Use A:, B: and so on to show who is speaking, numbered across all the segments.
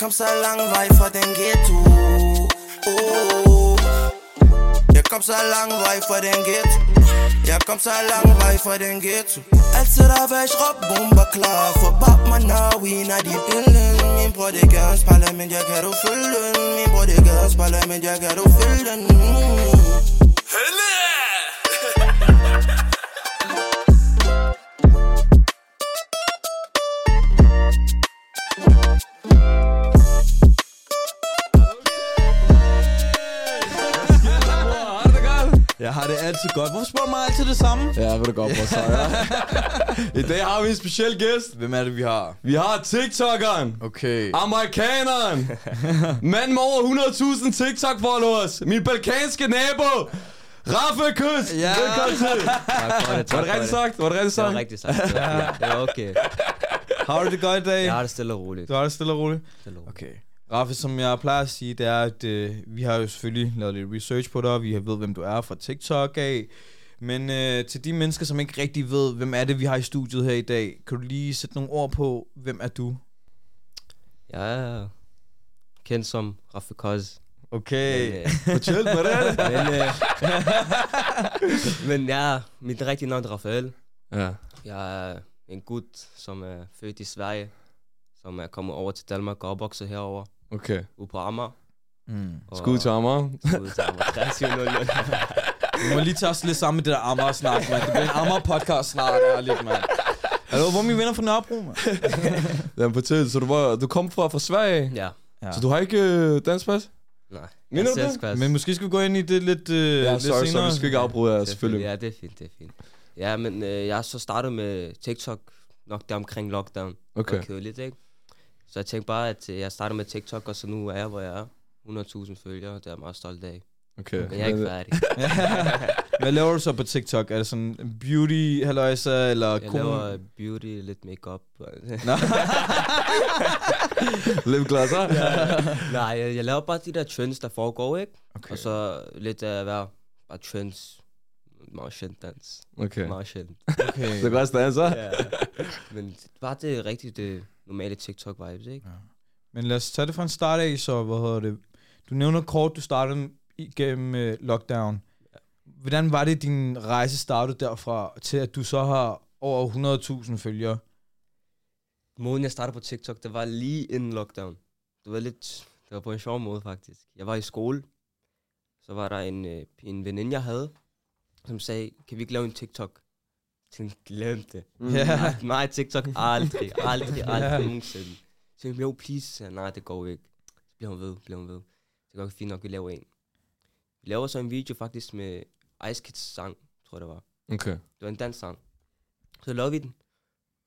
A: kom så lang vej fra den ghetto oh. Jeg kom så lang vej fra den ghetto Jeg kom så lang vej fra den ghetto Altid der var råb bomber klar For bab man har vi når de pillen Min bror det gør en spejle, men jeg kan du følge den Min bror det gør en spejle, men jeg kan du følge den mm.
B: Jeg har det altid godt. Hvorfor spørger du mig altid det samme?
C: Ja, ved du godt, hvor så ja.
B: I dag har vi en speciel gæst.
C: Hvem er det, vi har?
B: Vi har TikTokeren.
C: Okay.
B: Amerikaneren. Mand med over 100.000 TikTok-followers. Min balkanske nabo. Raffe Kyst.
C: Ja.
B: Velkommen til.
D: Tak for det,
B: Var
D: tak
B: det
D: for
B: rigtigt
D: det.
B: sagt? Var det rigtigt
D: Det
B: sagt?
D: var rigtigt sagt. Det var- Det var okay.
B: Har du det godt i dag?
D: Jeg har det stille og roligt.
B: Du har det stille og roligt?
D: Stille og roligt.
B: Okay. Raffe, som jeg plejer at sige, det er, at øh, vi har jo selvfølgelig lavet lidt research på dig, og vi ved, hvem du er fra TikTok af. Men øh, til de mennesker, som ikke rigtig ved, hvem er det, vi har i studiet her i dag, kan du lige sætte nogle ord på, hvem er du?
D: Jeg er kendt som Raffe Koz.
B: Okay.
D: Men,
B: Yeah,
D: øh,
B: Fortæl mig det.
D: Men, øh, men ja, mit rigtige navn er Rafael.
C: Ja.
D: Jeg er en gut, som er født i Sverige, som er kommet over til Danmark og opvokset herover
C: Okay.
D: ude på Amager.
B: Mm.
D: Og-
C: Skud til Amager.
D: Skud til Amager. 2300.
B: Du må lige tage os lidt sammen med det der Amager snart, mand. Det bliver en Amager podcast snart, ærligt, mand. Hallo, hvor er mine venner fra Nørrebro, mand?
C: Jamen, fortæl, så du, var, du kom fra, fra Sverige,
D: Ja,
B: Ja.
C: så du har ikke øh, dansk pas?
D: nej.
C: Mener du det?
D: Selvskvast.
B: Men måske skal vi gå ind i det lidt, øh,
C: Ja,
B: lidt
C: sorry, så
B: senere.
C: vi skal ikke afbryde jer, selvfølgelig.
D: Ja, det er fint, det er fint. Ja, men øh, jeg har så startet med TikTok nok der omkring lockdown.
C: Okay.
D: Det var kedeligt, ikke? Så jeg tænkte bare, at øh, jeg startede med TikTok, og så nu er jeg, hvor jeg er. 100.000 følgere, det er jeg meget stolt af.
C: Okay.
D: Men jeg er ikke
B: øh,
D: færdig.
B: Hvad laver du så på TikTok? Er det sådan beauty, halløjsa, eller
D: Jeg
B: kone?
D: laver øh, beauty, lidt makeup. øh,
C: Lidt glas, hva'?
D: Nej, jeg, jeg laver bare de der trends, der foregår, ikke?
B: Okay.
D: Og så lidt af hver. Bare trends. Meget sjældent dans.
C: Okay.
D: Meget sjældent.
B: okay.
C: Så kan også danse, hva'?
D: Ja. Men bare det rigtige, det normale TikTok-vibes, ikke?
B: Men lad os tage det fra en start af, så hvad hedder det? Du nævner kort, du startede igennem øh, lockdown. Hvordan var det, din rejse startede derfra, til at du så har over 100.000 følgere?
D: måden, jeg startede på TikTok, det var lige inden lockdown. Det var lidt, det var på en sjov måde faktisk. Jeg var i skole, så var der en, øh, en veninde, jeg havde, som sagde, kan vi ikke lave en TikTok? Jeg tænkte, glem det.
B: Ja.
D: Nej, nej, TikTok aldrig, aldrig, aldrig
B: Ja.
D: nogensinde. Så tænkte jeg, jo, please. Så, nej, det går ikke. Så bliver hun ved, bliver hun ved. Det går fint nok, vi laver en. Vi laver så en video faktisk med Ice Kids sang, tror jeg det var.
C: Okay.
D: Det var en dansk sang. Så lavede vi den,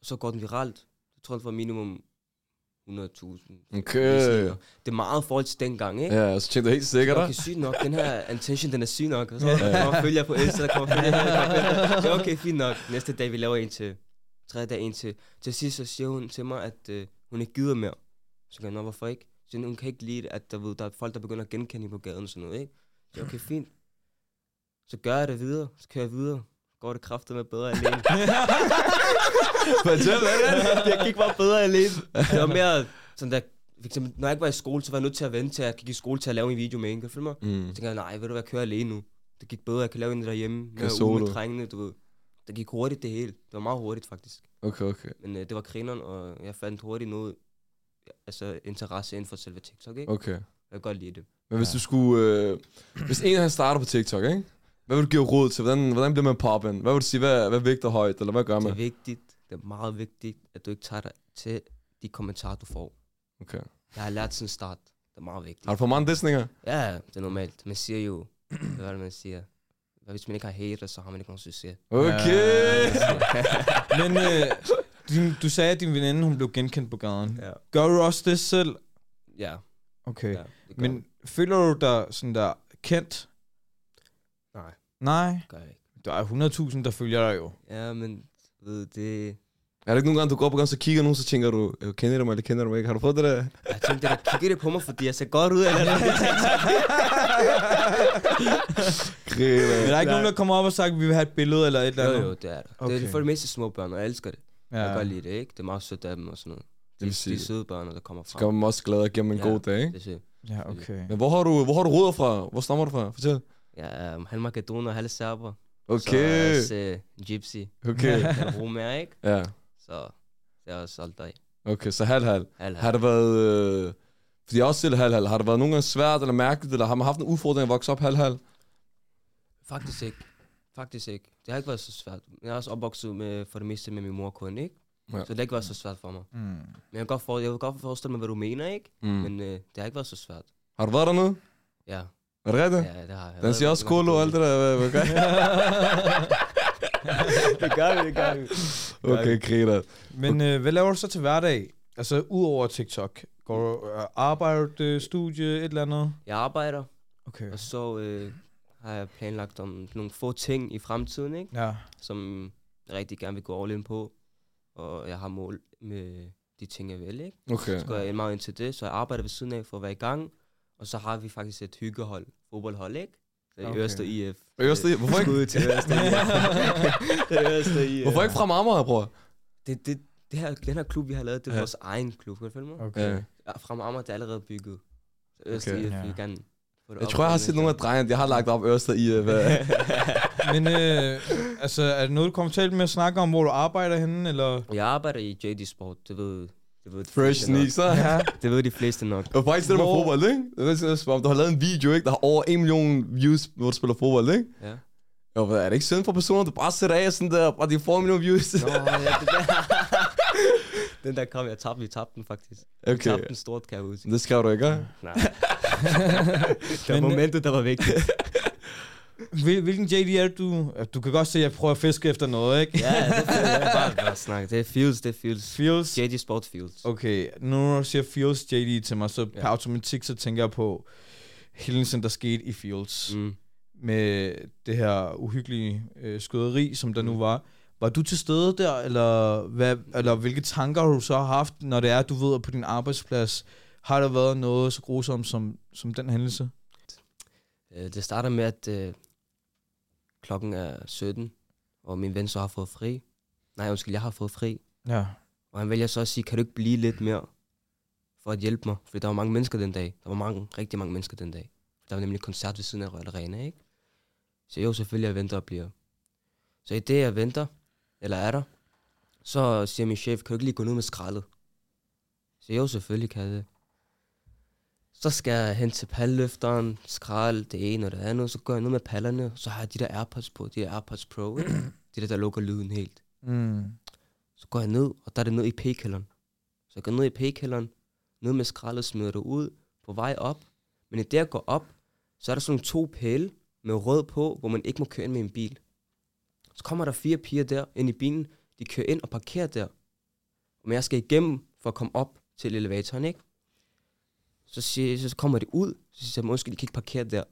D: og så går den viralt. Jeg tror, det var minimum 100.000.
C: Okay.
D: Det er meget i forhold til dengang, ikke?
C: Øh. Ja, så tjente du helt sikkert,
D: Okay,
C: hva'?
D: sygt nok. Den her attention, den er syg nok. Og så kommer følger på Insta, der kommer følger, der kommer følger. Så okay, fint nok. Næste dag, vi laver en til. Tredje dag, en til. Til sidst, så siger hun til mig, at øh, hun ikke gider mere. Så kan jeg, nå, hvorfor ikke? Så hun kan ikke lide, at der, ved, der er folk, der begynder at genkende hende på gaden og sådan noget, ikke? Så okay, fint. Så gør jeg det videre. Så kører jeg videre. Går det kraftigt med bedre alene.
C: Fortæl, hvad er det?
D: jeg gik bare bedre alene. Det var mere sådan der, for eksempel, når jeg ikke var i skole, så var jeg nødt til at vente til, at jeg gik i skole til at lave en video med en, kan du følge mig?
C: Mm.
D: Så tænkte jeg, nej, ved du hvad, jeg kører alene nu. Det gik bedre, jeg kan lave en derhjemme. Jeg er ude
C: solo.
D: med drengene, du ved. Det gik hurtigt det hele. Det var meget hurtigt faktisk.
C: Okay, okay.
D: Men øh, det var grineren, og jeg fandt hurtigt noget altså interesse inden for selve TikTok, ikke?
C: Okay.
D: Jeg kan godt lide det.
C: Men hvis du skulle... Øh, hvis en han starter på TikTok, ikke? Hvad vil du give råd til? Hvordan, hvordan bliver man poppen? Hvad vil du sige? Hvad, hvad vægter højt? Eller hvad gør
D: Det er
C: man?
D: vigtigt, det er meget vigtigt, at du ikke tager dig til de kommentarer, du får.
C: Okay.
D: Jeg har lært sådan start. Det er meget vigtigt.
C: Har du for mange dissninger?
D: Ja, det er normalt. Man siger jo, hvad er det, man siger? Hvad hvis man ikke har hater, så har man ikke nogen succes.
C: Okay.
B: Men øh, din, du sagde, at din veninde hun blev genkendt på gaden.
D: Ja.
B: Gør du også det selv?
D: Ja,
B: Okay.
D: ja det gør jeg.
B: Men føler du dig sådan der kendt?
D: Nej,
B: Nej.
D: det gør jeg ikke.
B: Der er 100.000, der følger dig jo.
D: Ja, men du ved, det...
C: Er det ikke nogle gange, du går op og gange, så kigger nogen, så tænker du, "Øh, kender du mig, eller kender du mig ikke? Har du fået det der?
D: Jeg tænkte, at kigger det på mig, fordi jeg ser godt ud, eller noget.
B: Men
C: Griner.
B: der er ikke nogen, der kommer op og sagt, at vi vil have et billede eller et eller
D: Jo,
B: andet.
D: jo, det er der. Det
B: Okay.
D: er for det meste små børn, og jeg elsker det. Jeg
B: Ja.
D: kan godt lide det, ikke? Det er meget sødt af dem og sådan noget.
C: Det vil
D: de, de
C: sige,
D: søde børn, der kommer
C: så
D: fra.
C: kommer man også glad gennem en
D: Ja.
C: god dag,
D: Det
C: ikke?
D: er sødt.
B: Ja, okay.
C: Men hvor har du, hvor har du rødder fra? Hvor stammer du fra? Fortæl.
D: Ja, um, han makedoner, halv serber.
C: Okay,
D: Så er også, uh, gypsy.
C: okay.
D: Eller romer, ikke?
C: ja,
D: Så det er også Aldaj.
C: okay, så halv-halv.
D: Halv,
C: Har det været... Øh, fordi jeg er også selv halv-halv. Har det været nogle gange svært eller mærkeligt, eller har man haft en udfordring at vokse op halv-halv?
D: Faktisk ikke. Faktisk ikke. Det har ikke været så svært. Jeg er også opvokset med, for det meste med min mor kun, ikke?
C: Ja.
D: Ja. Så det har ikke været så svært for mig.
B: Mm.
D: Men jeg kan godt, for, jeg kan godt forestille mig, hvad du mener, ikke?
C: Mm.
D: Mm.
C: Men,
D: Men øh, det har ikke været så svært.
C: har du været dernede?
D: Ja,
C: Er det rigtigt? Ja.
D: ja det har jeg.
C: Den siger også kolo og alt det der. Hvad, hvad gør jeg?
D: Det gør vi, det gør vi.
C: Okay, griner.
B: Men øh, hvad laver du så til hverdag? Altså, udover TikTok. Går du øh, arbejde, øh, studie, et eller andet?
D: Jeg arbejder,
B: Okay.
D: og så øh, har jeg planlagt om nogle få ting i fremtiden, ikke?
B: Ja.
D: Som jeg rigtig gerne vil gå all in på. Og jeg har mål med de ting, jeg vil, ikke?
C: Okay.
D: Så går jeg meget ind til det, så jeg arbejder ved siden af for at være i gang. Og så har vi faktisk et hyggehold, fodboldhold, ikke? Det er
B: Okay.
D: okay. Øster IF.
C: Øster IF. Hvorfor ikke-
D: Skud til øh, Øster IF. det er Øster IF.
C: Hvorfor ikke fra Marmara, bror?
D: Det, det, det her, den her klub, vi har lavet, det er
C: Ja.
D: ja. vores egen klub, kan du følge mig?
B: Okay.
C: Ja.
D: Ja, fra Amager, det er allerede bygget. Så Øster
C: Okay.
D: IF,
B: Ja.
D: vi vil gerne få det
C: Jeg
D: op
C: tror, jeg har
D: og
C: set nogle af drengene. Jeg har lagt op Øster i. øh, Hvad?
B: Men øh, altså, er det noget, du kommer til med at snakke om, hvor du arbejder henne, eller?
D: Jeg arbejder i JD Sport, det ved, det ved de
C: Fresh
D: fleste nok.
C: sneaks, så.
D: Det ved de fleste nok.
C: Og faktisk det der med
B: Hvor-
C: fodbold, ikke? Det er sådan, som om Du har lavet en video, ikke? Der har over 1 million views, hvor du spiller fodbold, ikke?
D: Ja.
C: Jo, hvad, er det ikke synd for personer, du bare sætter af sådan der, og de får en million views?
D: Nå, ja, det der. den der kom, jeg tabte, vi tabte den faktisk. Vi
C: Okay,
D: tabte den stort, kan jeg huske.
C: det skrev du ikke, hva'?
D: Nej. det var
B: Men-
D: momentet, der var vigtigt.
B: Hvil, hvilken JD er det, du? øh, Du kan godt se, at jeg prøver at fiske efter noget, ikke?
D: ja, det er bare, bare snak. Det er feels, det er feels.
B: Feels.
D: JD Sport feels.
B: Okay, nu når du siger Fields JD til mig, så ja.
D: Ja.
B: per automatik, så tænker jeg på hændelsen, der skete i Fields. Mm.
D: Mm.
B: Med det her uhyggelige øh, skyderi, som der
D: Mm.
B: nu var. Var du til stede der, eller, hvad, eller hvilke tanker har du så haft, når det er, at du ved, at på din arbejdsplads har der været noget så grusomt som, som den hændelse?
D: Øh, Det starter med, at øh, klokken er 17, og min ven så har fået fri. Nej, undskyld, jeg har fået fri.
B: Ja.
D: Og han vælger så at sige, kan du ikke blive lidt mere for at hjælpe mig? Fordi der var mange mennesker den dag. Der var mange, rigtig mange mennesker den dag. Der var nemlig koncert ved siden af Royal Arena, ikke? Så jo, selvfølgelig, jeg venter og bliver. Så i det, jeg venter, eller er der, så siger min chef, kan du ikke lige gå ned med skraldet? Så jo, selvfølgelig kan jeg det. Så skal jeg hen til palløfteren, skrald, det ene og det andet. Så går jeg ned med pallerne, så har jeg de der AirPods på, de der AirPods Pro, ikke? De der, der lukker lyden helt.
B: Mm.
D: Så går jeg ned, og der er det ned i p-kælderen. Så jeg går ned i p-kælderen, ned med skraldet, smider det ud, på vej op. Men i det, jeg går op, så er der sådan nogle to pæle med rød på, hvor man ikke må køre ind med en bil. Så kommer der fire piger der ind i bilen, de kører ind og parkerer der. Men jeg skal igennem for at komme op til elevatoren, ikke? Så, siger, så kommer de ud, så siger jeg til dem, undskyld, I kan ikke parkere der.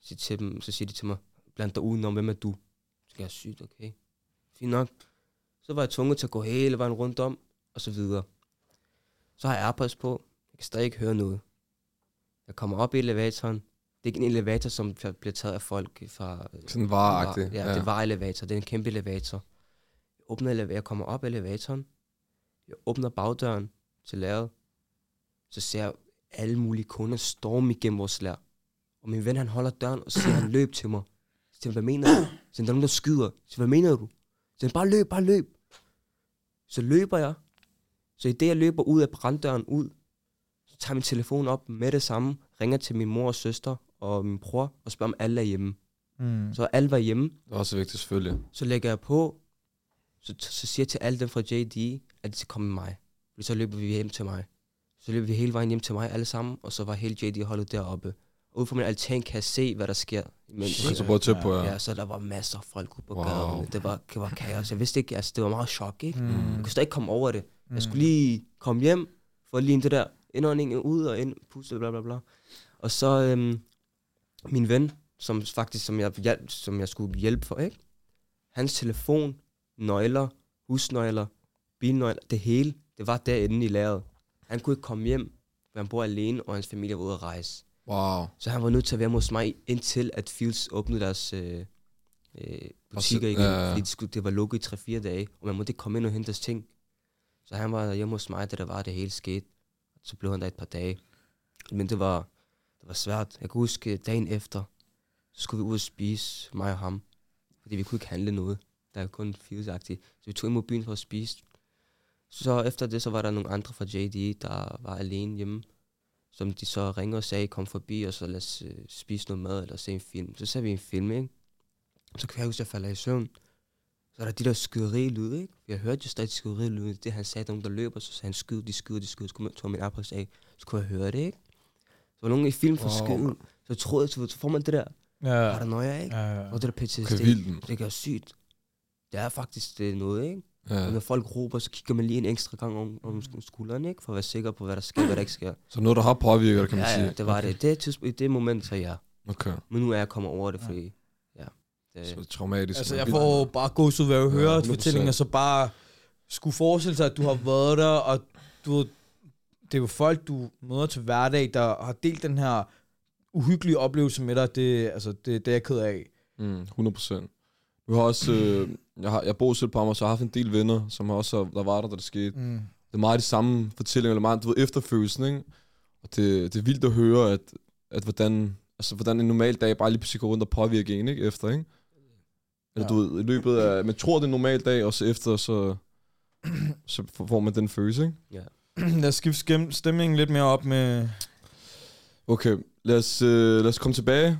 D: Så siger, jeg til dem, så siger de til mig, bland dig udenom, hvem er du? Så kan jeg sygt, okay. Fint nok. Så var jeg tvunget til at gå hele vejen rundt om, og så videre. Så har jeg AirPods på. Jeg kan stadig ikke høre noget. Jeg kommer op i elevatoren. Det er ikke en elevator, som bliver taget af folk fra øh,
C: Sådan vareagtigt.
D: Ja, ja, det var elevator. Det er en kæmpe elevator. Jeg, åbner elev- jeg kommer op af elevatoren. Jeg åbner bagdøren til lærret. Så ser jeg alle mulige kunder storme igennem vores lær. Og min ven, han holder døren og siger, han løb til mig. Så siger, han, hvad mener du? Så siger, han, der er nogen, der skyder. Så siger, han, hvad mener du? Så siger, han, bare løb, bare løb. Så løber jeg. Så i det, jeg løber ud af branddøren ud, så tager jeg min telefon op med det samme, ringer til min mor og søster og min bror og spørger, om alle er hjemme.
B: Mm.
D: Så alle var hjemme,
C: Det er også vigtigt, selvfølgelig.
D: så lægger jeg på, så, så siger jeg til alle dem fra JD, at de skal komme med mig. Fordi så løber vi hjem til mig. Så løber vi hele vejen hjem til mig alle sammen, og så var hele JD-holdet deroppe. Og ud fra min altan kan jeg se, hvad der sker. Men,
C: Så du bare tæt på, ja.
D: ja, så der var masser af folk ude på
C: Wow.
D: wow. gaden. Det var, det var kaos. Jeg vidste ikke, altså det var meget chok, ikke? Jeg
B: Mm.
D: kunne slet ikke komme over det.
B: Mm.
D: Jeg skulle lige komme hjem, få lige en det der indånding ud og ind, puste, bla bla bla. Og så øhm, min ven, som faktisk, som jeg, hjælp, som jeg skulle hjælpe for, ikke? Hans telefon, nøgler, husnøgler, bilnøgler, det hele, det var derinde i lageret. Han kunne ikke komme hjem, for han bor alene, og hans familie var ude at rejse.
C: Wow.
D: Så han var nødt til at være hos mig, indtil at Fields åbnede deres øh, øh,
C: Og så-
D: butikker igen,
C: ja, ja.
D: fordi det, skulle, det var lukket i 3-4 dage, og man måtte ikke komme ind og hente deres ting. Så han var hjemme hos mig, da der var det hele skete. Så blev han der et par dage. Men det var, det var svært. Jeg kan huske dagen efter, så skulle vi ud og spise, mig og ham. Fordi vi kunne ikke handle noget. Der er kun fyrsagtigt. Så vi tog ind mod byen for at spise. Så efter det, så var der nogle andre fra JD, der var alene hjemme. Som de så ringede og sagde, kom forbi, og så lad os øh, spise noget mad, eller se en film. Så ser vi en film, ikke? Så kan jeg huske, at jeg falder i søvn. Så er der de der skyderilyde, ikke? Jeg hørte jo stadig skyderilyde. Det han sagde, der er nogen, der løber, så sagde han, skyd, de skyder, de skyder. Så kunne man- tog min Airpods af, så kunne jeg høre det, ikke? Så var nogen i film for
B: Wow,
D: wow. Så troede jeg, så så får man det der
B: Mm. Ja.
D: paranoia, ikke?
B: Ja.
D: Og det der PTSD,
C: Kan vildt den.
D: det gør sygt. Det er faktisk det er noget, ikke?
C: Ja.
D: Og når folk råber, så kigger man lige en ekstra gang om, om sk- skulderen, ikke? For at være sikker på, hvad der sker, hvad der ikke sker.
C: Så noget, der har påvirket dig, kan man
D: Ja,
C: sige.
D: ja, det var det. det. tidspunkt, I det moment, så ja.
C: Okay.
D: Men nu er jeg kommet over det, fordi... Ja. Det,
C: Så traumatisk.
B: Altså, jeg får bare gås ud, hvad jeg
C: Ja,
B: hører
C: 100%.
B: fortællingen, og så bare skulle forestille sig, at du har været der, og du ved, det er jo folk, du møder til hverdag, der har delt den her uhyggelige oplevelse med dig, det, altså, det, det er jeg ked af.
C: Mm, 100 procent. Du har også... Øh, jeg, har, jeg bor selv på Amager, så jeg har haft en del venner, som har også der var der, da det skete.
B: Mm.
C: det er meget de samme fortællinger, eller meget, du ved, efterfølelsen, ikke? Og det, det er vildt at høre, at, at hvordan, altså, hvordan en normal dag bare lige pludselig går rundt og påvirker en, ikke? Efter, ikke? Eller
B: Ja.
C: du ved, i løbet af, man tror, det er en normal dag, og så efter, så, så får man den følelse, ikke?
B: Lad os skifte stem- stemningen lidt mere op med...
C: Okay, lad os, øh, lad os komme tilbage.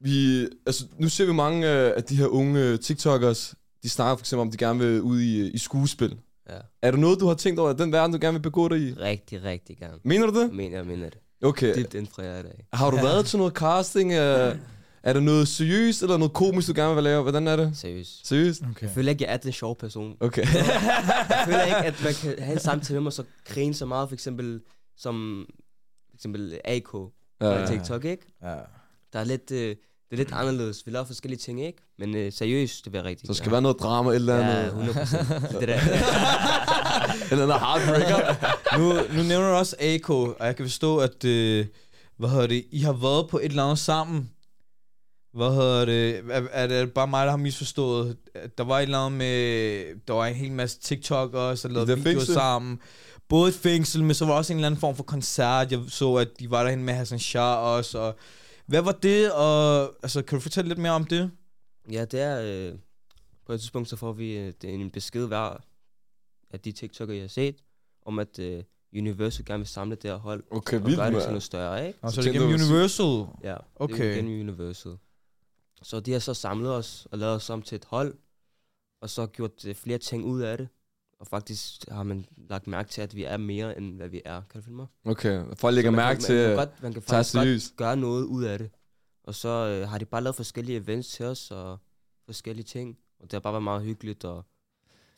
C: Vi, altså, nu ser vi mange øh, af de her unge øh, TikTokers, de snakker for eksempel om, at de gerne vil ud i, øh, i skuespil.
D: ja.
C: Er der noget, du har tænkt over, at den verden, du gerne vil begå dig i?
D: Rigtig, rigtig gerne.
C: Mener du det?
D: Men jeg mener det.
C: Okay.
D: Dybt inden fra jer i dag.
C: Har du ja. været til noget casting? Øh, er der noget seriøst eller noget komisk, du gerne vil lave? Hvordan er det?
D: Seriøst.
C: Seriøst?
B: Okay.
D: Jeg føler ikke, jeg er den sjove person.
C: Okay.
D: Jeg føler ikke, at man kan have en samtale med mig, så grine så meget, for eksempel som for eksempel AK på
C: ja.
D: TikTok, ikke?
B: Ja.
D: Der er lidt, øh, det er lidt anderledes. Vi laver forskellige ting, ikke? Men øh, seriøst, det bliver rigtigt.
C: Mm. Så skal være noget drama et eller
D: Ja,
C: andet.
D: 100 procent. Det der.
C: Eller noget heartbreaker.
B: nu, nu nævner du også AK, og jeg kan forstå, at... Øh, hvad hedder det? I har været på et eller andet sammen. Hvad hedder det? Er, er det bare mig, der har misforstået? Der var et eller andet med... Der var en hel masse TikTok også, og
C: I
B: lavede
C: det
B: videoer
C: fængsel?
B: sammen. Både et fængsel, men så var der også en eller anden form for koncert. Jeg så, at de var derhen med Hassan Shah også, og... Hvad var det, og... Altså, kan du fortælle lidt mere om det?
D: Ja, det er... Øh, på et tidspunkt, så får vi øh, det er en besked hver af de TikTok'er, jeg har set, om at øh, Universal gerne vil samle det her hold.
C: Okay,
D: Og
C: vildt,
D: gøre det til
C: mand.
D: noget større, ikke?
B: Nå,
C: Så
B: så, så det er
C: tænkte
B: gennem
C: du-
B: Universal.
D: Ja, det er
B: Okay.
D: jo gennem Universal. Så de har så samlet os og lavet os om til et hold, og så gjort øh, flere ting ud af det. Og faktisk har man lagt mærke til, at vi er mere, end hvad vi er. Kan du følge mig?
C: Okay, folk lægger
D: man kan-
C: mærke
D: man
C: til,
D: kan
C: at
D: godt, man kan
C: tager
D: faktisk godt
C: seriøst.
D: gøre noget ud af det. Og så øh, har de bare lavet forskellige events til os, og forskellige ting. Og det har bare været meget hyggeligt, og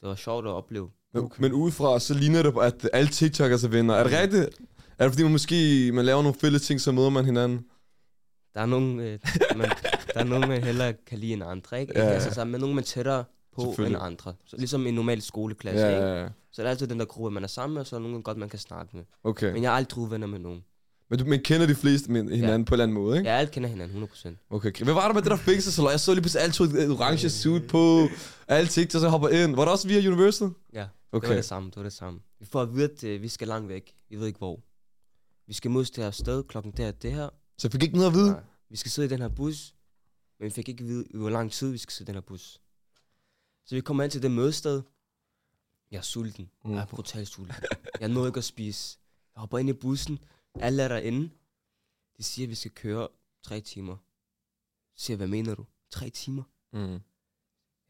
D: det var sjovt at opleve.
C: Men, men udefra, så ligner det, at alle TikTokers er venner. Er det rigtigt? Er det fordi, man måske man laver nogle fælles ting, så møder man hinanden?
D: Der er nogen, øh, man, der er nogen, man hellere kan lide end andre, ikke?
C: Ja.
D: Ja. Altså, så er man nogen, man er tættere på end
C: Selvfølgelig.
D: andre. Så, ligesom en normal skoleklasse, ikke?
C: Ja, ja.
D: Så der er altid den der gruppe, man er sammen med, og så er der nogen godt, man kan snakke med.
C: Okay.
D: Men jeg er aldrig uvenner med nogen.
C: Men du men kender de fleste men- hinanden på en eller anden måde, ikke?
D: Jeg alt kender hinanden 100%.
C: Okay. Hvad var der med det der fængsel? Jeg så lige pludselig alt tog et orange suit på. Alle TikTokers hopper ind. Var det også via Universal?
D: Ja, det var
C: Okay.
D: det samme, det var det samme. Vi får at vide, at øh, vi skal langt væk. Vi ved ikke hvor. Vi skal mødes det her sted, klokken der og det her.
C: Så jeg fik ikke noget at vide?
D: Nej. Vi skal sidde i den her bus, men vi fik ikke at vide, i hvor lang tid vi skal sidde i den her bus. Så vi kommer hen til det mødested. Jeg er sulten. Mm. Jeg er brutalt sulten. Jeg nåede ikke at spise. Jeg hopper ind i bussen. Alle er derinde. De siger, at vi skal køre tre timer. Så siger jeg, hvad mener du? Tre timer?
C: Mm.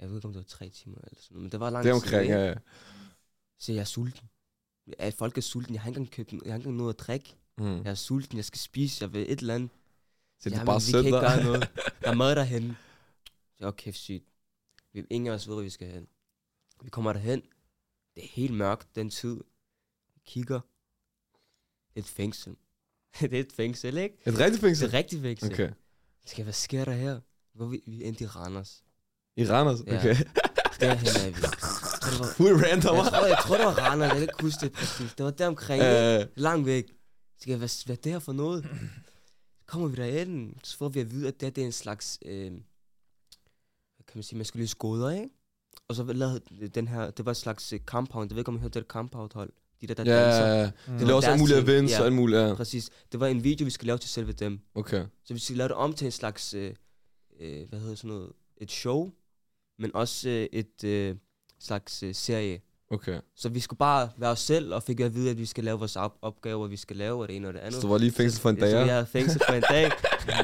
D: Jeg ved ikke, om det var tre timer eller sådan noget, men det var lang
C: Det er omkring, øh,
D: tid. ikke?
C: ja.
D: Så siger jeg, jeg er sulten. At folk er sulten. Jeg har ikke engang købt, jeg har ikke engang noget at drikke.
C: Mm.
D: Jeg er sulten, jeg skal spise, jeg vil et eller andet.
C: Så det er
D: Jamen,
C: bare
D: vi kan
C: sæt
D: ikke gøre
C: dig.
D: noget. Der er mad derhen. Det er kæft sygt. Vi, ingen af os ved, hvor vi skal hen. Vi kommer derhen. Det er helt mørkt den tid. Vi kigger. Et fængsel. det er et fængsel, ikke?
C: Et rigtigt
D: Det er
C: fængsel?
D: et rigtigt fængsel. Okay.
C: Okay.
D: Skal, hvad sker der her? Hvor vi, vi endte i Randers.
C: I Randers?
D: Ja.
C: Okay.
D: Derhen er vi. Så det var,
C: Fuld random.
D: jeg, tror, jeg tror, det var Randers. Jeg kan ikke huske det præcis. Det var deromkring. ikke?
C: Øh,
D: Langt væk. Så Skal jeg, hvad, hvad er det her for noget? Kommer vi derind, så får vi at vide, at det, her, det er en slags... Øh, hvad kan man sige, man skal løse gåder, ikke? Og så lavede den her, det var et slags øh, compound, jeg ved ikke om I hørte det compound hold, de der, der
C: Ja,
D: danser.
C: ja, ja.
B: Mm.
C: De laver også
D: Deres
C: alt muligt
D: ting,
C: events
D: ja.
C: og alt muligt. Ja.
D: Præcis. Det var en video, vi skal lave til selve dem.
C: Okay.
D: Så vi skal lave det om til en slags, øh, øh, hvad hedder sådan noget, et show, men også øh, et øh, slags øh, serie.
C: Okay.
D: Så vi skulle bare være os selv, og fik at vide, at vi skal lave vores op- opgaver, vi skal lave og det ene og det
C: Så
D: andet.
C: du var lige i fængsel for en dag.
D: Så
C: ja?
D: jeg havde fængsel for en dag.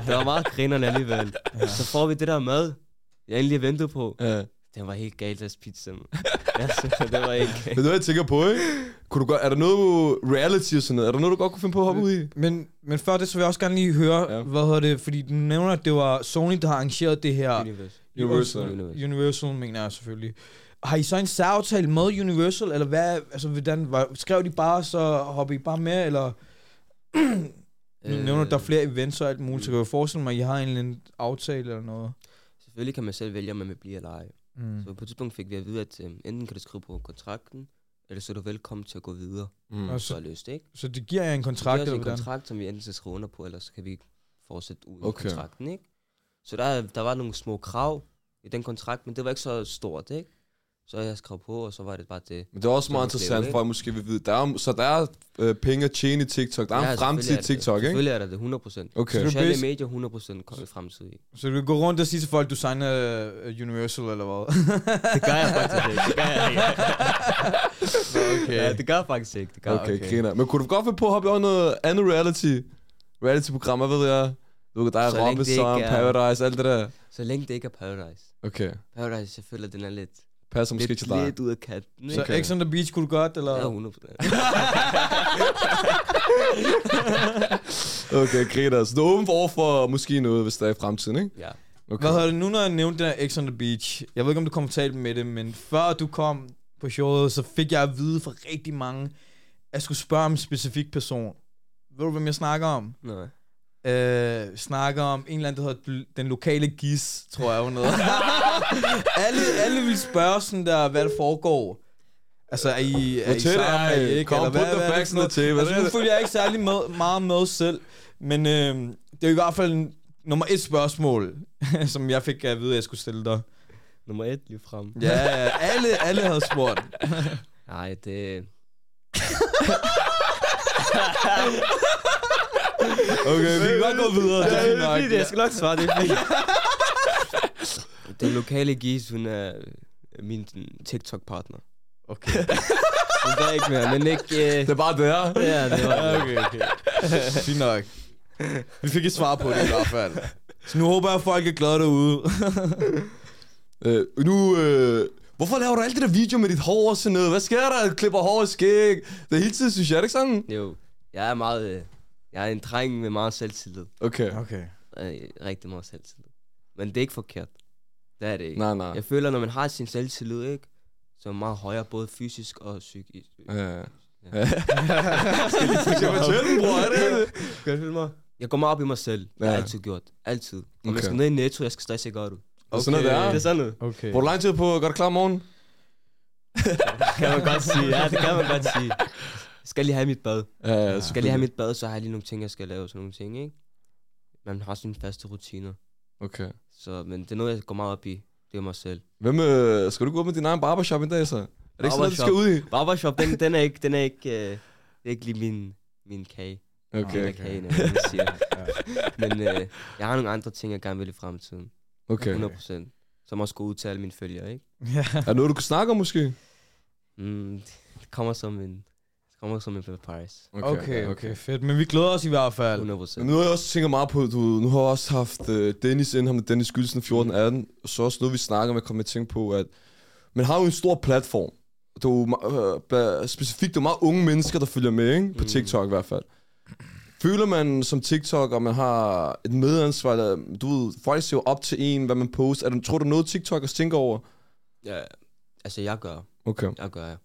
D: Det var meget grinerne alligevel. Ja. Så får vi det der mad, jeg endelig ventede på.
C: Ja.
D: Den var helt galt, deres pizza. mand. altså, det var helt
C: Men
D: galt.
C: det er jeg tænker på, ikke? Kunne du godt, er der noget reality og sådan noget? Er der noget, du godt kunne finde på at hoppe ud i?
B: Men, men før det, så vil jeg også gerne lige høre,
C: Ja.
B: ja. hvad hedder det, fordi du nævner, at det var Sony, der har arrangeret det her.
D: Universe.
C: Universal.
D: Universe.
B: Universal mener jeg selvfølgelig. Har I så en særaftale med Universal, eller hvad, altså hvordan, var, skrev de bare, så hopper I bare med, eller nu øh, nævner du, der er flere events og alt muligt, så kan jeg jo forestille mig, at I har en eller anden aftale eller noget.
D: Selvfølgelig kan man selv vælge, om man vil blive eller ej.
B: Mm.
D: Så på et tidspunkt fik vi at vide, at øh, enten kan du skrive på kontrakten, eller så er du velkommen til at gå videre.
C: Mm.
B: Og
D: Så er
B: så,
D: det løst, ikke?
B: så det giver jer en kontrakt,
D: det er
B: eller
D: en
B: hvordan?
D: kontrakt, som vi enten skal skrive under på, eller så kan vi ikke fortsætte uden
C: Okay.
D: okay. kontrakten, ikke? Så der, der var nogle små krav i den kontrakt, men det var ikke så stort, ikke? Så jeg skrev på, og så var det bare det.
C: Men det er også
D: Så
C: meget
D: vi kan
C: interessant,
D: lave,
C: for at måske vil vide. Der er, så der er øh, penge at tjene i TikTok. Der er en fremtid
D: selvfølgelig
C: i
D: er
C: TikTok, ikke?
D: det, Selvfølgelig er der det, 100%.
C: Okay.
B: Så du
D: Sociale
B: bedst-
D: medier 100% kom i fremtiden.
B: Så du kan gå rundt og sige til folk, du signer øh, Universal, eller hvad?
D: Det gør jeg faktisk ikke. Det gør jeg ikke.
B: okay.
D: Ja, det gør jeg faktisk ikke. Det gør
C: Okay,
D: jeg
C: okay. griner. Men kunne du godt finde på at hoppe over i noget andet reality? Reality-program, hvad ved jeg? Du ved, der er
D: Så længe det
C: Robinson,
D: ikke er-
C: Paradise, alt det der.
D: ikke. Så længe det ikke er Paradise.
C: Okay.
D: Paradise, jeg føler, den er lidt,
C: Passer måske
D: lidt,
C: ikke til dig.
D: lidt ud af kanten.
B: Så
C: Okay.
B: okay. X on the Beach kunne du godt, eller?
D: Ja,
B: Jo.
D: 100%.
C: Okay, griner. Så du er åben for over for måske noget, hvis der er i fremtiden, ikke?
D: ja.
C: Okay.
B: Hvad hedder det nu, når jeg nævnte den her X on the Beach? Jeg ved ikke, om du kom og talte med det, men før du kom på showet, så fik jeg at vide fra rigtig mange, at jeg skulle spørge om en specifik person. Ved du, hvem jeg snakker om?
D: Nej.
B: Øh, snakker om en eller anden, der hedder den lokale gis, tror jeg, hun hedder. alle, alle vil spørge sådan der, hvad der foregår. Altså, er I, er I
C: tæt er
B: sammen,
C: I? Kom, put
B: Eller hvad-
C: the
B: hvad er det
C: facts
B: for noget?
C: ned til, hvad er
B: Altså, nu
C: det?
B: følger jeg ikke særlig med, meget med selv, men øh, det er i hvert fald en- nummer et spørgsmål, som jeg fik at vide, at jeg skulle stille dig.
D: Nummer et lige frem.
B: Ja, ja, alle, alle havde spurgt.
D: Nej, det...
C: Okay, vi kan godt gå videre. Det er fint nok.
D: fint, jeg skal nok svare, det er fint. Den lokale gis, hun er øh, min sådan, TikTok-partner.
B: Okay.
D: Hun er ikke mere, men ikke... Øh,
C: Det er bare det her.
D: ja, det var det.
B: Okay, okay. Fint nok. Vi fik et svar på det i hvert fald. Så nu håber jeg, at folk er glade derude.
C: Øh, nu, øh, hvorfor laver du alt det der video med dit hår og sådan noget? Hvad sker der? Du klipper hår og skæg. Det er hele tiden, synes jeg, er det ikke sådan?
D: Jo, jeg er meget... Øh, jeg er en dreng med meget selvtillid.
C: Okay.
B: Okay.
D: Øh, rigtig meget selvtillid. Men det er ikke forkert. Det er det ikke.
C: Nej, nej.
D: Jeg føler, når man har sin selvtillid, ikke? Så er man meget højere, både fysisk og psykisk.
C: Øh. Ja. Skal jeg fortælle den, bror? Er det det?
D: Kan du følge mig? Jeg går meget op i mig selv. Det har
C: Ja.
D: jeg altid gjort. Altid. Om okay.
C: Okay.
D: jeg skal ned i Netto, jeg skal stresse godt ud.
C: Det er sådan noget, det er.
D: Det er sådan noget.
B: Okay.
C: Hvor lang tid er du på at gøre dig klar om morgenen?
D: kan man godt sige. Ja, det kan man godt sige. Jeg skal lige have mit bad.
C: Ja, ja,
D: Jeg skal lige have mit bad, så har jeg lige nogle ting, jeg skal lave. og Sådan nogle ting, ikke? Man har sine faste rutiner.
C: Okay.
D: Så, men det er noget, jeg går meget op i. Det er mig selv.
C: Hvem, øh, skal du gå op med din egen barbershop en dag, så? Er det ikke sådan noget, du skal
D: Barbershop.
C: ud i?
D: Barbershop, den, den er ikke, den er ikke, øh, det er ikke lige min, min kage.
C: Okay,
D: Den er kagen, eller hvad man siger. Men øh, jeg har nogle andre ting, jeg gerne vil i fremtiden.
C: okay.
D: 100 Som også går ud til alle mine følgere, ikke?
B: Ja.
C: Er der noget, du kan snakke om, måske?
D: Mm, det kommer som en, det kommer som en surprise.
B: Okay, okay, fedt. Men vi glæder os i hvert fald.
D: 100
C: Men nu har jeg også tænkt meget på, du, ved, nu har jeg også haft øh, Dennis ind her med Dennis Gylsen 14-18, så også noget, vi snakker med, kom jeg tænke på, at man har jo en stor platform. Det er jo ma- øh, bla- specifikt, det er meget unge mennesker, der følger med, ikke? På
D: Mm.
C: TikTok i hvert fald. Føler man som TikTok, og man har et medansvar, eller, du ved, folk ser jo op til en, hvad man poster. Er det, tror du, noget TikTok tænker over?
D: Ja, altså jeg gør,
C: Okay.
D: jeg gør jeg.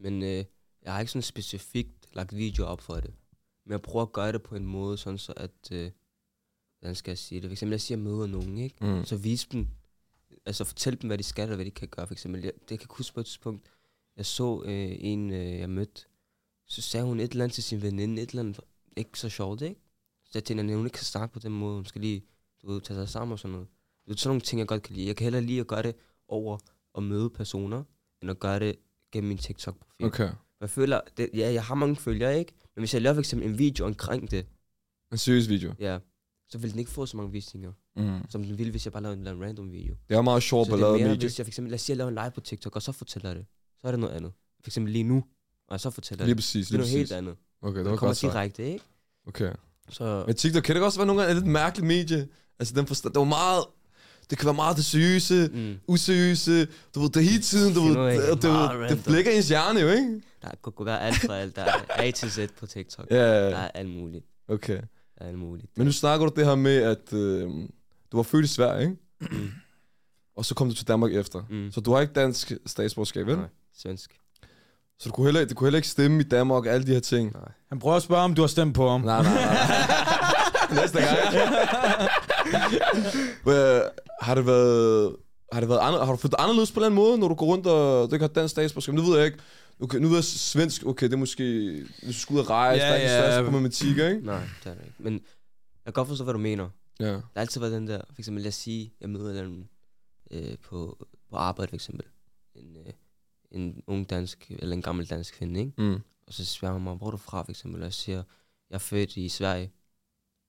D: Men øh, jeg har ikke sådan specifikt lagt video op for det. Men jeg prøver at gøre det på en måde, sådan så at, øh, hvordan skal jeg sige det? For eksempel, jeg siger, at jeg møder nogen, ikke?
C: Mm.
D: Så vis dem, altså fortæl dem, hvad de skal og hvad de kan gøre. For eksempel, jeg, det jeg kan huske på et tidspunkt, jeg så øh, en, øh, jeg mødte, så sagde hun et eller andet til sin veninde, et eller andet, ikke så sjovt, ikke? Så jeg tænkte, at hun ikke kan snakke på den måde, hun skal lige, du ved, tage sig sammen og sådan noget. Det er sådan nogle ting, jeg godt kan lide. Jeg kan hellere lide at gøre det over at møde personer, end at gøre det gennem min TikTok-profil.
C: Okay.
D: Jeg føler, det, ja, jeg har mange følgere, ikke? Men hvis jeg laver for eksempel en video omkring det,
C: En seriøs video.
D: ja, så vil den ikke få så mange visninger,
C: Mm.
D: som den ville, hvis jeg bare lavede en eller anden random video.
C: Det er meget sjovt
D: så
C: at
D: det er
C: lave
D: mere,
C: video.
D: hvis jeg for eksempel, lad os sige, jeg laver en live på TikTok, og så fortæller jeg det. Så er det noget andet. For eksempel lige nu, og så fortæller jeg
C: Lige
D: det.
C: præcis,
D: Det
C: lige
D: er noget
C: præcis.
D: helt andet.
C: Okay, det
D: Det
C: var
D: kommer
C: godt sagt.
D: direkte, ikke?
C: Okay.
D: Så
C: Men TikTok kan det også være nogle gange et lidt mærkeligt medie. Altså, den forstår, det var meget... Det kan være meget det seriøse,
D: mm,
C: useriøse. Du ved, det er hele tiden, du
D: Det er
C: ved,
D: noget
C: det,
D: helt
C: det,
D: meget
C: det,
D: random.
C: det flækker ens hjerne jo, ikke?
D: der kunne kunne være alt fra alt. Der er A til Z på TikTok.
C: Ja,
D: Der
C: yeah,
D: er alt muligt.
C: okay.
D: Der er alt muligt.
C: Men nu snakker du det her med, at øh, du var født i Sverige, ikke?
D: Mm.
C: Og så kom du til Danmark efter.
D: Mm.
C: Så du har ikke dansk statsborgerskab, vel?
D: Nej, svensk.
C: Så du kunne heller, ikke- du kunne heller ikke stemme i Danmark og alle de her ting. Nej,
B: Han prøver at spørge, om du har stemt på ham.
C: nej, nej. Næste gang. Hvad, har det været... Har, det været andre, har du følt dig anderledes på en eller anden måde, når du går rundt og du ikke har dansk statsborgerskab? Det ved jeg ikke. Okay, nu ved jeg svensk, okay, det er måske, hvis du skal ud og rejse,
B: Ja,
C: der er ikke
B: ja.
C: største problematik, ikke?
D: Nej, det er det ikke. Men jeg kan godt forstå, hvad du mener.
C: Ja.
D: Der har altid været den der, for eksempel lad os sige, jeg møder en eller anden, øh, på, på arbejde for eksempel. En, øh, en ung dansk, eller en gammel dansk kvinde, ikke?
C: Mm.
D: Og så spørger hun mig, hvor er du fra for eksempel? Og jeg siger, jeg er født i Sverige.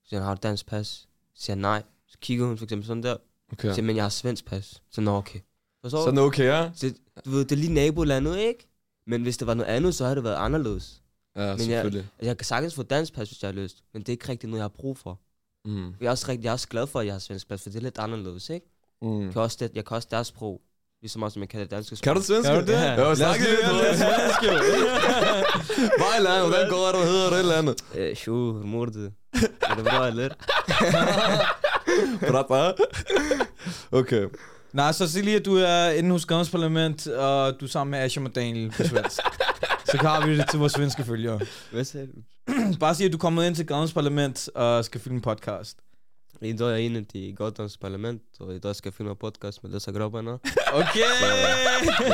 D: Så siger hun, har du dansk pas? Så siger jeg, nej. Så kigger hun for eksempel sådan der.
C: Okay.
D: Ja. Siger, men jeg har svensk pas. Så nå, okay. Forstår
C: Sådan
D: du?
C: okay, ja?
D: Så, du ved, det er lige nabolandet, ikke? Men hvis det var noget andet, så havde det været anderledes.
C: Ja,
D: jeg-
C: selvfølgelig.
D: Altså, jeg kan sagtens få dansk pas, hvis jeg har lyst. Men det er ikke rigtig noget, jeg har brug for.
C: Mm.
D: Jeg er også, rigtig, jeg er også glad for, at jeg har svensk pas, for det er lidt anderledes, ikke?
C: Mm.
D: Jeg kan også, det, jeg kan også deres sprog, lige så meget som jeg kan det danske sprog.
C: Kan du svensk?
B: Kan du det?
C: Ja, jeg har snakket lidt med dig.
B: svensk, jo.
C: Hvad er landet? Hvordan går det, du hedder det et eller andet?
D: Øh, sjo, mordet. Er det bra, eller?
C: Brata. Okay.
B: Nej, så sig lige, at du er inde hos Gammels Parlament, og du er sammen med Asham og Daniel på svensk. så har vi det til vores svenske følgere.
D: Hvad sagde du?
B: Bare sig, at du er kommet ind til Gammels Parlament og skal filme en podcast.
D: Idag är jag inne i Gotlands parlament och idag ska jag filma podcast med dessa grabbarna.
B: Okay!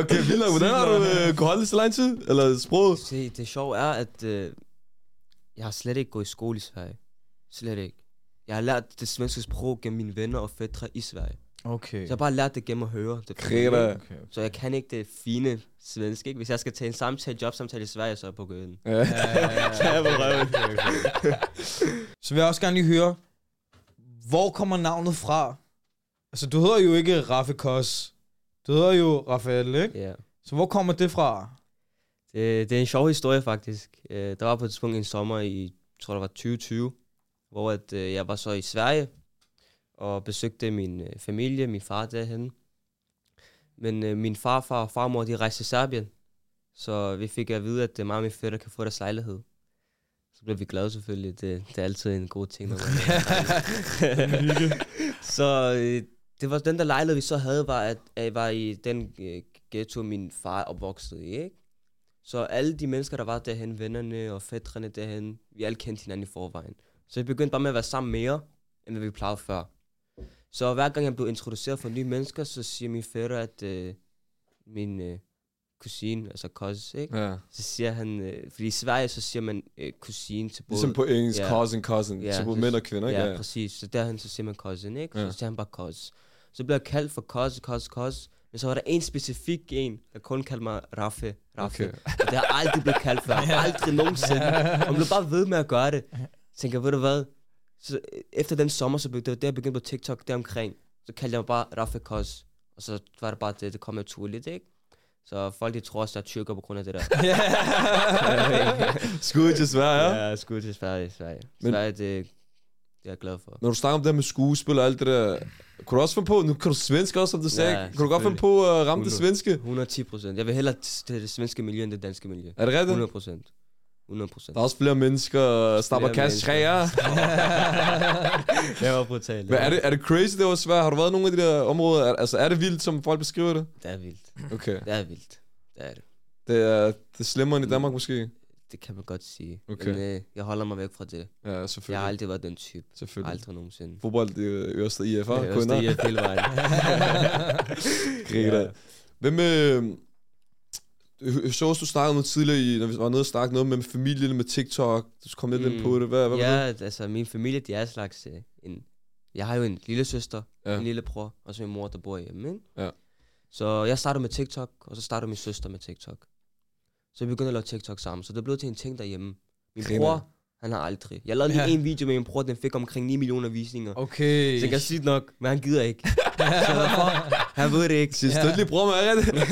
C: Okay, vildt nok. Hvordan har du øh, kunnet holde det så lang tid? Eller sproget?
D: Se, det sjove er, at øh, jeg har slet ikke gået i skole i Sverige. Slet ikke. Jeg har lært det svenske sprog gennem mine venner og fætre i Sverige.
B: Okay.
D: Så jeg har bare lært det gennem at høre. Det
C: Kreda.
B: okay.
D: Så jeg kan ikke det fine svensk, ikke? Hvis jeg skal tage en samtale, jobsamtale i Sverige, så er jeg på gøden.
C: Ja.
B: Ja, okay, okay. Så vil jeg også gerne lige høre, hvor kommer navnet fra? Altså, du hedder jo ikke Raffe Kos. Du hedder jo Rafael, ikke?
D: Ja.
B: Så hvor kommer det fra?
D: Det, det er en sjov historie faktisk. Øh, der var på et tidspunkt en sommer i, jeg tror det var 2020, hvor at, øh, jeg var så i Sverige og besøgte min øh, familie, min far derhen. Men øh, min farfar og farmor, de rejste til Serbien, så vi fik at vide, at øh, mig og min fætter kan få deres lejlighed. Så blev vi glade selvfølgelig. Det, det er altid en god ting. Når man så øh, det var den der lejlighed, vi så havde, var, at, at var i den øh, ghetto, min far er opvokset i, ikke? Så alle de mennesker, der var derhen, vennerne og fætterne derhen, vi alle kendte hinanden i forvejen. Så vi begyndte bare med at være sammen mere, end hvad vi plejede før. Så hver gang jeg blev introduceret for nye mennesker, så siger min fætter, at øh, min øh, kusine, altså kos, ikke?
C: ja.
D: Så siger han, øh, fordi i Sverige, så siger man øh, kusine til både...
C: Ligesom på engelsk,
D: Ja.
C: cousin, cousin.
D: Ja,
C: Så både
D: så-
C: mænd og kvinder, ikke?
D: Ja, præcis. Så derhen så siger man cousin, ikke? Så
C: Ja.
D: siger han bare cos. Så blev jeg kaldt for cos, cos, cos. Men så var der en specifik en, der kun kaldte mig Raffe. Raffe.
C: Okay.
D: Okay. Og det har jeg aldrig blevet kaldt før. Aldrig nogensinde. Og man blev bare ved med at gøre det. Så tænkte jeg, ved du hvad? Så øh, efter den sommer, så begyndte, det var der, jeg begyndte på TikTok deromkring. Så kaldte jeg mig bare Raffe Kos. Og så var det bare det, det kom naturligt, ikke? Så folk de tror også, jeg er tyrker på grund af det der.
C: Skud til Sverige, ja.
D: ja, skud til Sverige, Sverige.
C: Men-
D: Sverige, det, det er jeg glad for.
C: Når du snakker om det her med skuespil og alt det der, kunne du også finde på, nu kan du svensk også, som du sagde,
D: Ja,
C: kunne du godt finde på at ramme det
D: Hundrede.
C: svenske?
D: 110 procent. Jeg vil hellere t- til det svenske miljø end det danske miljø.
C: Er det rigtigt?
D: 100 procent. 100 procent.
C: Der er også flere mennesker, øh, snapper
D: Flere
C: cash træer.
D: Jeg var brutal.
C: Hvad er det, er det crazy, det var svært? Har du været i nogle af de der områder? Er, altså, er det vildt, som folk beskriver det?
D: Det er vildt.
C: Okay.
D: Det er vildt. Det er det.
C: Det er, det er slemmere end i Danmark måske?
D: Det kan man godt sige.
C: Okay.
D: Men øh, jeg holder mig væk fra det.
C: Ja,
D: Jeg
C: selvfølgelig.
D: har aldrig været den type.
C: Selvfølgelig.
D: Aldrig nogensinde.
C: Fodbold i øh, Ørsted IF, hva'?
D: Jeg
C: kunder.
D: er også hele vejen.
C: Griner.
D: Ja.
C: Hvem med... Øh, så du snakkede noget tidligere, i, når vi var nede og snakkede noget med familien, med TikTok. Du kom lidt mm. ind
D: Mm.
C: på det. Hvad, hvad var det?
D: Ja, altså min familie, de er en slags øh, en... Jeg har jo en lille søster,
C: Ja.
D: ja. en lille bror, og så min mor, der bor hjemme, ikke?
C: Ja.
D: Så jeg startede med TikTok, og så startede min søster med TikTok. Så vi begyndte at lave TikTok sammen, så det blev til en ting derhjemme. Min
C: Griner.
D: bror, han har aldrig. Jeg lavede lige
B: Ja.
D: en video med min bror, den fik omkring 9 millioner visninger.
B: Okay.
D: Så jeg kan sige nok, men han gider ikke. så derfor, han ved det ikke.
C: Til ja. støttelig bror, man.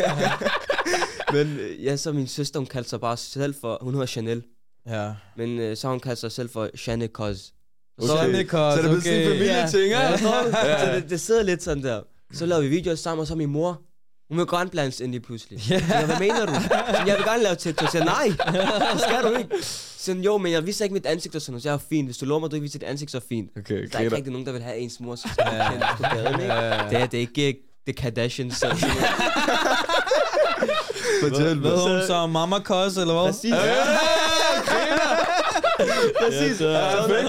D: Men øh, ja, så min søster, hun kaldte sig bare selv for, hun hedder Chanel.
B: Ja.
D: Men øh, så har hun kaldt sig selv for Shane Cos.
C: Så-
B: Sådan det, Kors.
C: Så er det blevet sådan en
B: okay.
C: familieting, ja.
D: Så det, det sidder lidt sådan der. Så lavede vi videoer sammen, og så min mor, hun vil gerne blandes ind i pludselig. Yeah. Så jeg, hvad mener du? Så jeg vil gerne lave TikTok. Så jeg, nej, det skal du ikke. Så jeg, jo, men jeg viser ikke mit ansigt og sådan noget. Så jeg er fint. Hvis du lover mig, du ikke viser dit ansigt, så er fint.
C: Okay,
D: Der er ikke
C: griner.
D: rigtig nogen, der vil have ens mor, som skal yeah. kendes på gaden, ikke?
B: Ja.
D: Det er det er ikke det er Kardashians. Så.
C: Fortæl
B: Hvad
C: mig.
B: hedder hun så? Mama Kors, eller hvad?
D: Præcis. Præcis. Perfekt.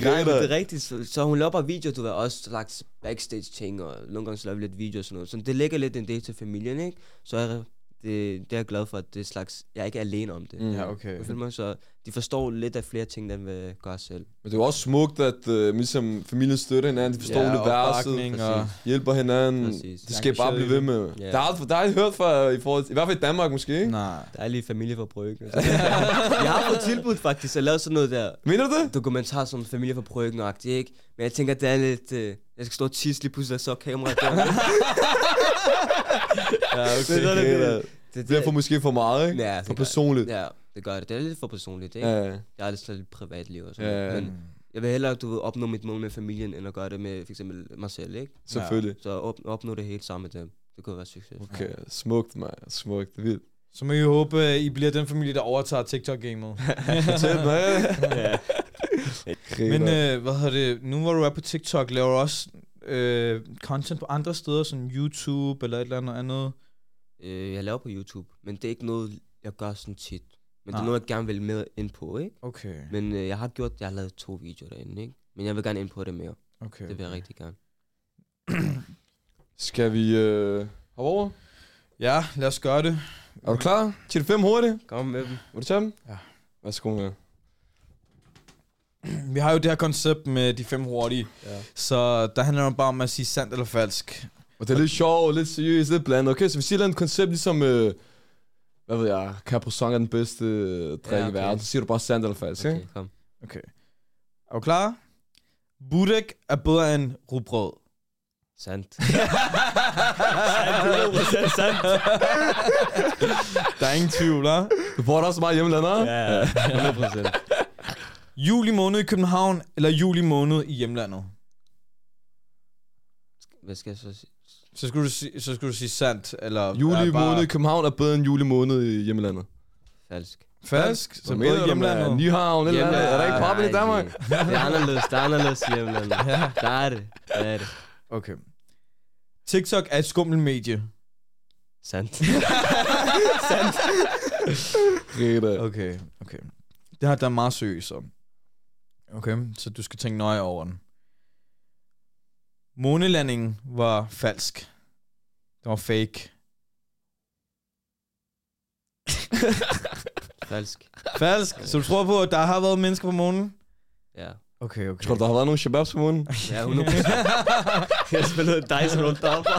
D: Nej, men det er rigtigt. Så, så hun laver bare videoer, du ved, også lagt backstage ting, og nogle gange så laver vi lidt videoer og sådan noget. Så det ligger lidt en del til familien, ikke? Så er det, det er jeg glad for, at det er slags, jeg er ikke alene om det.
C: Mm.
B: Ja, okay.
D: Jeg føler mig så, de forstår lidt af flere ting, den vil gøre selv.
C: Men det er jo også smukt, at uh, ligesom familien støtter hinanden, de forstår
B: Ja,
C: ja, universet,
B: opbakning og...
C: hjælper hinanden.
D: Præcis.
C: Det skal bare blive ved med.
D: Ja.
C: Der, har, der har jeg hørt fra, i, forhold, til- i hvert fald i Danmark måske, ikke?
B: Nej.
D: Der er lige familie for bryggen. jeg har fået tilbud faktisk at lave sådan noget der.
C: Mener du det?
D: dokumentar som familie for bryggen ikke? Men jeg tænker, det er lidt... Øh, jeg skal stå og tisse lige pludselig, og så kameraet der.
C: Ja, okay.
D: Det er det,
C: okay,
D: det er.
C: da.
D: det,
C: Det er for måske for meget, ikke?
D: ja, det
C: For
D: gør-
C: personligt.
D: Ja, det gør det. Det er lidt for personligt, ikke?
C: Ja.
D: Ja.
C: ja.
D: Jeg har lidt sådan lidt privatliv og
C: Ja,
D: sådan
C: ja.
D: ja. Men jeg vil hellere, du ved, opnå mit mål med familien, end at gøre det med for eksempel mig selv, ikke?
C: Selvfølgelig.
D: Så op, opnå det helt sammen med dem. Det kunne være succes.
C: Okay, smukt, man. Smukt. Vildt.
B: Så må I håbe, I bliver den familie, der overtager TikTok-gamet.
C: Fortæl mig. Griner.
B: Men øh, hvad hedder det, nu hvor du er på TikTok, laver du også øh, content på andre steder, som YouTube eller et eller andet andet?
D: Øh, jeg laver på YouTube, men det er ikke noget, jeg gør sådan tit. Men det
B: Nej.
D: er noget, jeg gerne vil med ind på, ikke?
B: Okay,
D: Men øh, jeg har gjort, jeg har lavet to videoer derinde, ikke? Men jeg vil gerne ind på det mere.
B: okay.
D: Det vil jeg rigtig gerne.
C: Skal vi øh, hoppe over?
B: Ja, lad os gøre det.
C: Er du klar? Til de fem hurtigt.
D: Kom med dem.
C: Vil du tage dem?
B: Mm. Ja.
C: Værsgo med.
B: Vi har jo det her koncept med de fem hurtige,
C: Ja.
B: så der handler det bare om at sige sandt eller falsk.
C: Og det er lidt sjovt, lidt seriøst, lidt blandet. Okay, så vi siger et eller andet koncept, ligesom... Øh, hvad ved jeg, Capri-Sang er den bedste øh, drink ja, okay. i
D: Ja, okay.
C: verden. Så siger du bare sandt eller falsk, okay.
D: Okay,
C: ikke?
D: kom.
B: Okay. Er du klar? Budek er bedre end rugbrød.
D: Sandt.
B: Der er ingen tvivl, hva'?
C: Du får det også meget hjemmelander. Ja.
D: 100%.
B: Juli måned i København, eller juli måned i hjemlandet?
D: Hvad skal jeg så sige?
B: Så skulle du, si- så skulle du sige sandt, eller...
C: Juli
B: er bare
C: måned i København er bedre end juli måned i hjemlandet.
D: Falsk.
B: Falsk, så
C: Hvad
B: både i hjemlandet.
C: mand? Nyhavn, eller andet. Er der ikke poppen i
D: Nej,
C: Danmark?
D: det- Det er anderledes, det er anderledes i hjemlandet.
B: Ja.
D: Der er det, der er det.
B: Okay. TikTok er et skummel medie.
D: Sandt.
C: Rita.
B: Okay, okay. Det her, der er meget seriøst om. Okay, så du skal tænke nøje over den. Månelandingen var falsk. Det var fake.
D: Falsk.
B: Falsk? Så du tror på, at der har været mennesker på månen?
D: Ja.
B: Okay, okay.
C: Tror du, der har været nogle shababs på måneden?
D: Ja, 100%. Jeg spillede dice rundt deroppe.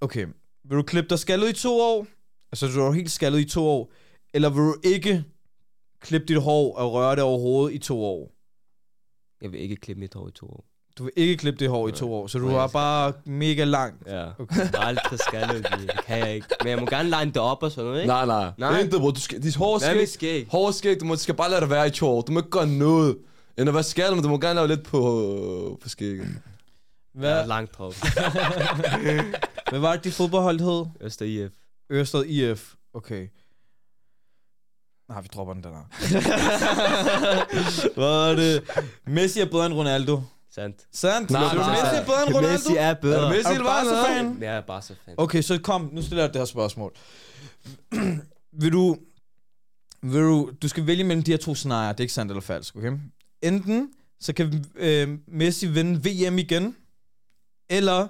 B: Okay. Vil du klippe dig skaldet i to år? Altså, du er jo helt skaldet i to år. Eller vil du ikke klippe dit hår og røre det overhovedet i to år?
D: Jeg vil ikke klippe mit hår i to år.
B: Du vil ikke klippe det hår i
D: Nej.
B: to år, så du
D: Nej,
B: er
D: jeg skal-
B: bare mega lang.
D: Ja. Okay. Jeg har aldrig skaldet, det kan jeg ikke. Men jeg må gerne line det op og sådan noget, ikke?
C: Nej, nej.
D: Nej.
C: Intet, bro. Du skal, dit hår
D: Hvad
C: skal
D: med skæg?
C: Hår og skæg, du må, skal bare lade det være i to år. Du må ikke gøre noget. End at være skaldet, men du må gerne lave lidt på, på skægget.
D: Jeg
B: Hvad,
D: har langt hår.
B: hvad var det, dit fodboldhold hed?
D: Øster IF.
B: Ørsted IF. Okay. Nej, vi dropper den der. nej. Hvad er det? Messi er bedre end Ronaldo.
D: Sandt.
B: Sandt?
C: Nej,
B: Så
C: nej,
B: Messi
C: nej.
B: er bedre end Ronaldo?
D: Messi er bedre.
C: Er du Messi,
B: Er du
C: eller hvad?
B: Barca-fan?
D: Men Jeg er bare så fan.
B: Okay, så kom, nu stiller jeg det her spørgsmål. vil du, vil du, du skal vælge mellem de her to scenarier, det er ikke sandt eller falsk, okay? Enten så kan øh, Messi vinde VM igen, eller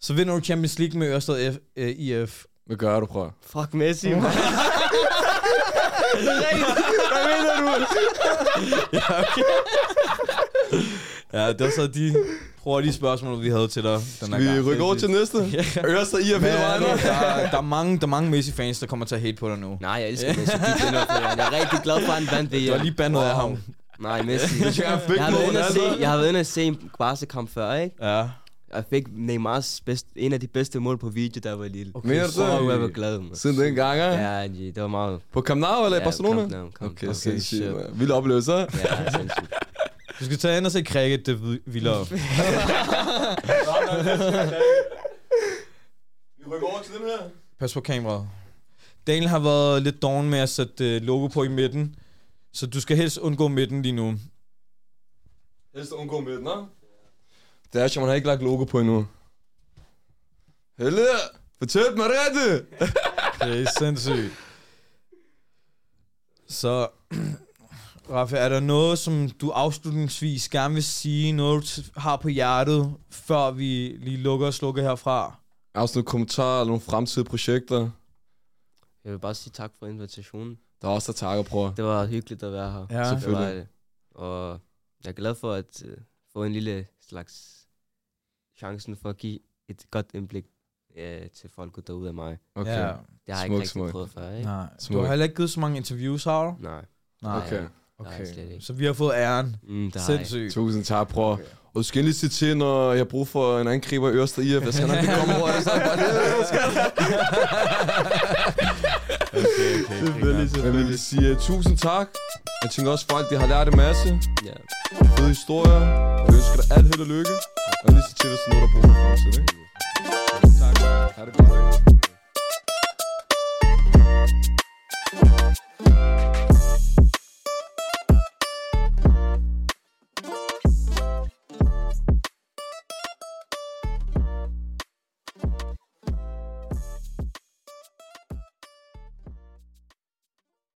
B: så vinder du Champions League med Ørsted F, øh, IF.
C: Hvad gør du, prøv?
D: Fuck Messi, man.
B: Hvad mener du? ja, okay. Ja, det var så de hurtige spørgsmål, vi havde til dig den her
C: Vi
B: gang.
C: rykker over til næste. Ører sig i af hele
B: Men,
C: vejen.
B: der, der, er mange, der er mange Messi fans, der kommer til at hate på dig nu.
D: Nej, jeg elsker Messi. dybt ind i hjertet. Jeg er rigtig glad for, at han vandt VM.
B: Du har lige bandet af ham.
D: Nej, Messi.
C: Jeg er fik
D: Jeg har været inde at se,
C: noget,
D: jeg har været inde at se en Barca-kamp før, ikke?
B: Ja.
D: Jeg fik Neymars bedst, en af de bedste mål på video, der var lille. Okay.
C: Mener du
D: Så jeg var
C: det?
D: glad, man.
C: Siden den gang, ja.
D: Ja, G, det var meget...
C: På Camp Nou eller i
D: Ja,
C: Barcelona?
D: Camp Nou, Camp Nou.
C: Okay,
B: Okay,
C: sindssygt.
B: shit.
C: mand. Vild oplevelse. hva'?
D: Ja, sindssygt.
B: Du skal tage ind og se cricket, det vi- vildere.
C: Vi rykker over til den her.
B: Pas på kameraet. Daniel har været lidt doven med at sætte øh, logo på i midten, så du skal helst undgå midten lige nu.
C: Helst undgå midten, hva'? Det er, som man har ikke lagt logo på endnu. Helle, fortæl mig rigtigt.
B: Det er sindssygt. Så, Raffe, er der noget, som du afslutningsvis gerne vil sige, noget du t- har på hjertet, før vi lige lukker og slukker herfra?
C: Altså nogle kommentarer eller nogle fremtidige projekter.
D: Jeg vil bare sige tak for invitationen.
C: Der er også der takker, bror.
D: Det var hyggeligt at være her.
B: Ja.
D: det var
C: Selvfølgelig.
D: det. Og jeg er glad for at øh, få en lille slags chancen for at give et godt indblik øh, til folket derude af mig.
C: Okay.
B: Ja,
D: Det har jeg
C: Smuk,
D: ikke rigtig
C: smuk.
D: prøvet før, ikke?
B: nej. Du
C: Smuk.
B: har heller ikke givet så mange interviews, har du?
D: Nej,
B: Nej.
C: Okay.
D: det har jeg slet ikke.
B: Så vi har fået æren.
D: Mm, det har jeg ikke.
B: Sindssygt.
C: Tusind tak, bror. Og du skal lige sige til, når jeg har brug for en angriber i Ørsted IF. Jeg skal nok lige komme over og sige, Altså, bare det skal Men jeg vil sige uh, tusind tak. Jeg tænker også, folk de har lært en masse.
D: Ja.
C: Fede historier. Og jeg ønsker dig alt held og lykke. Og lige sige til, hvis der er noget, der bruger det i fremtiden. ikke? Tak. Ha' det godt.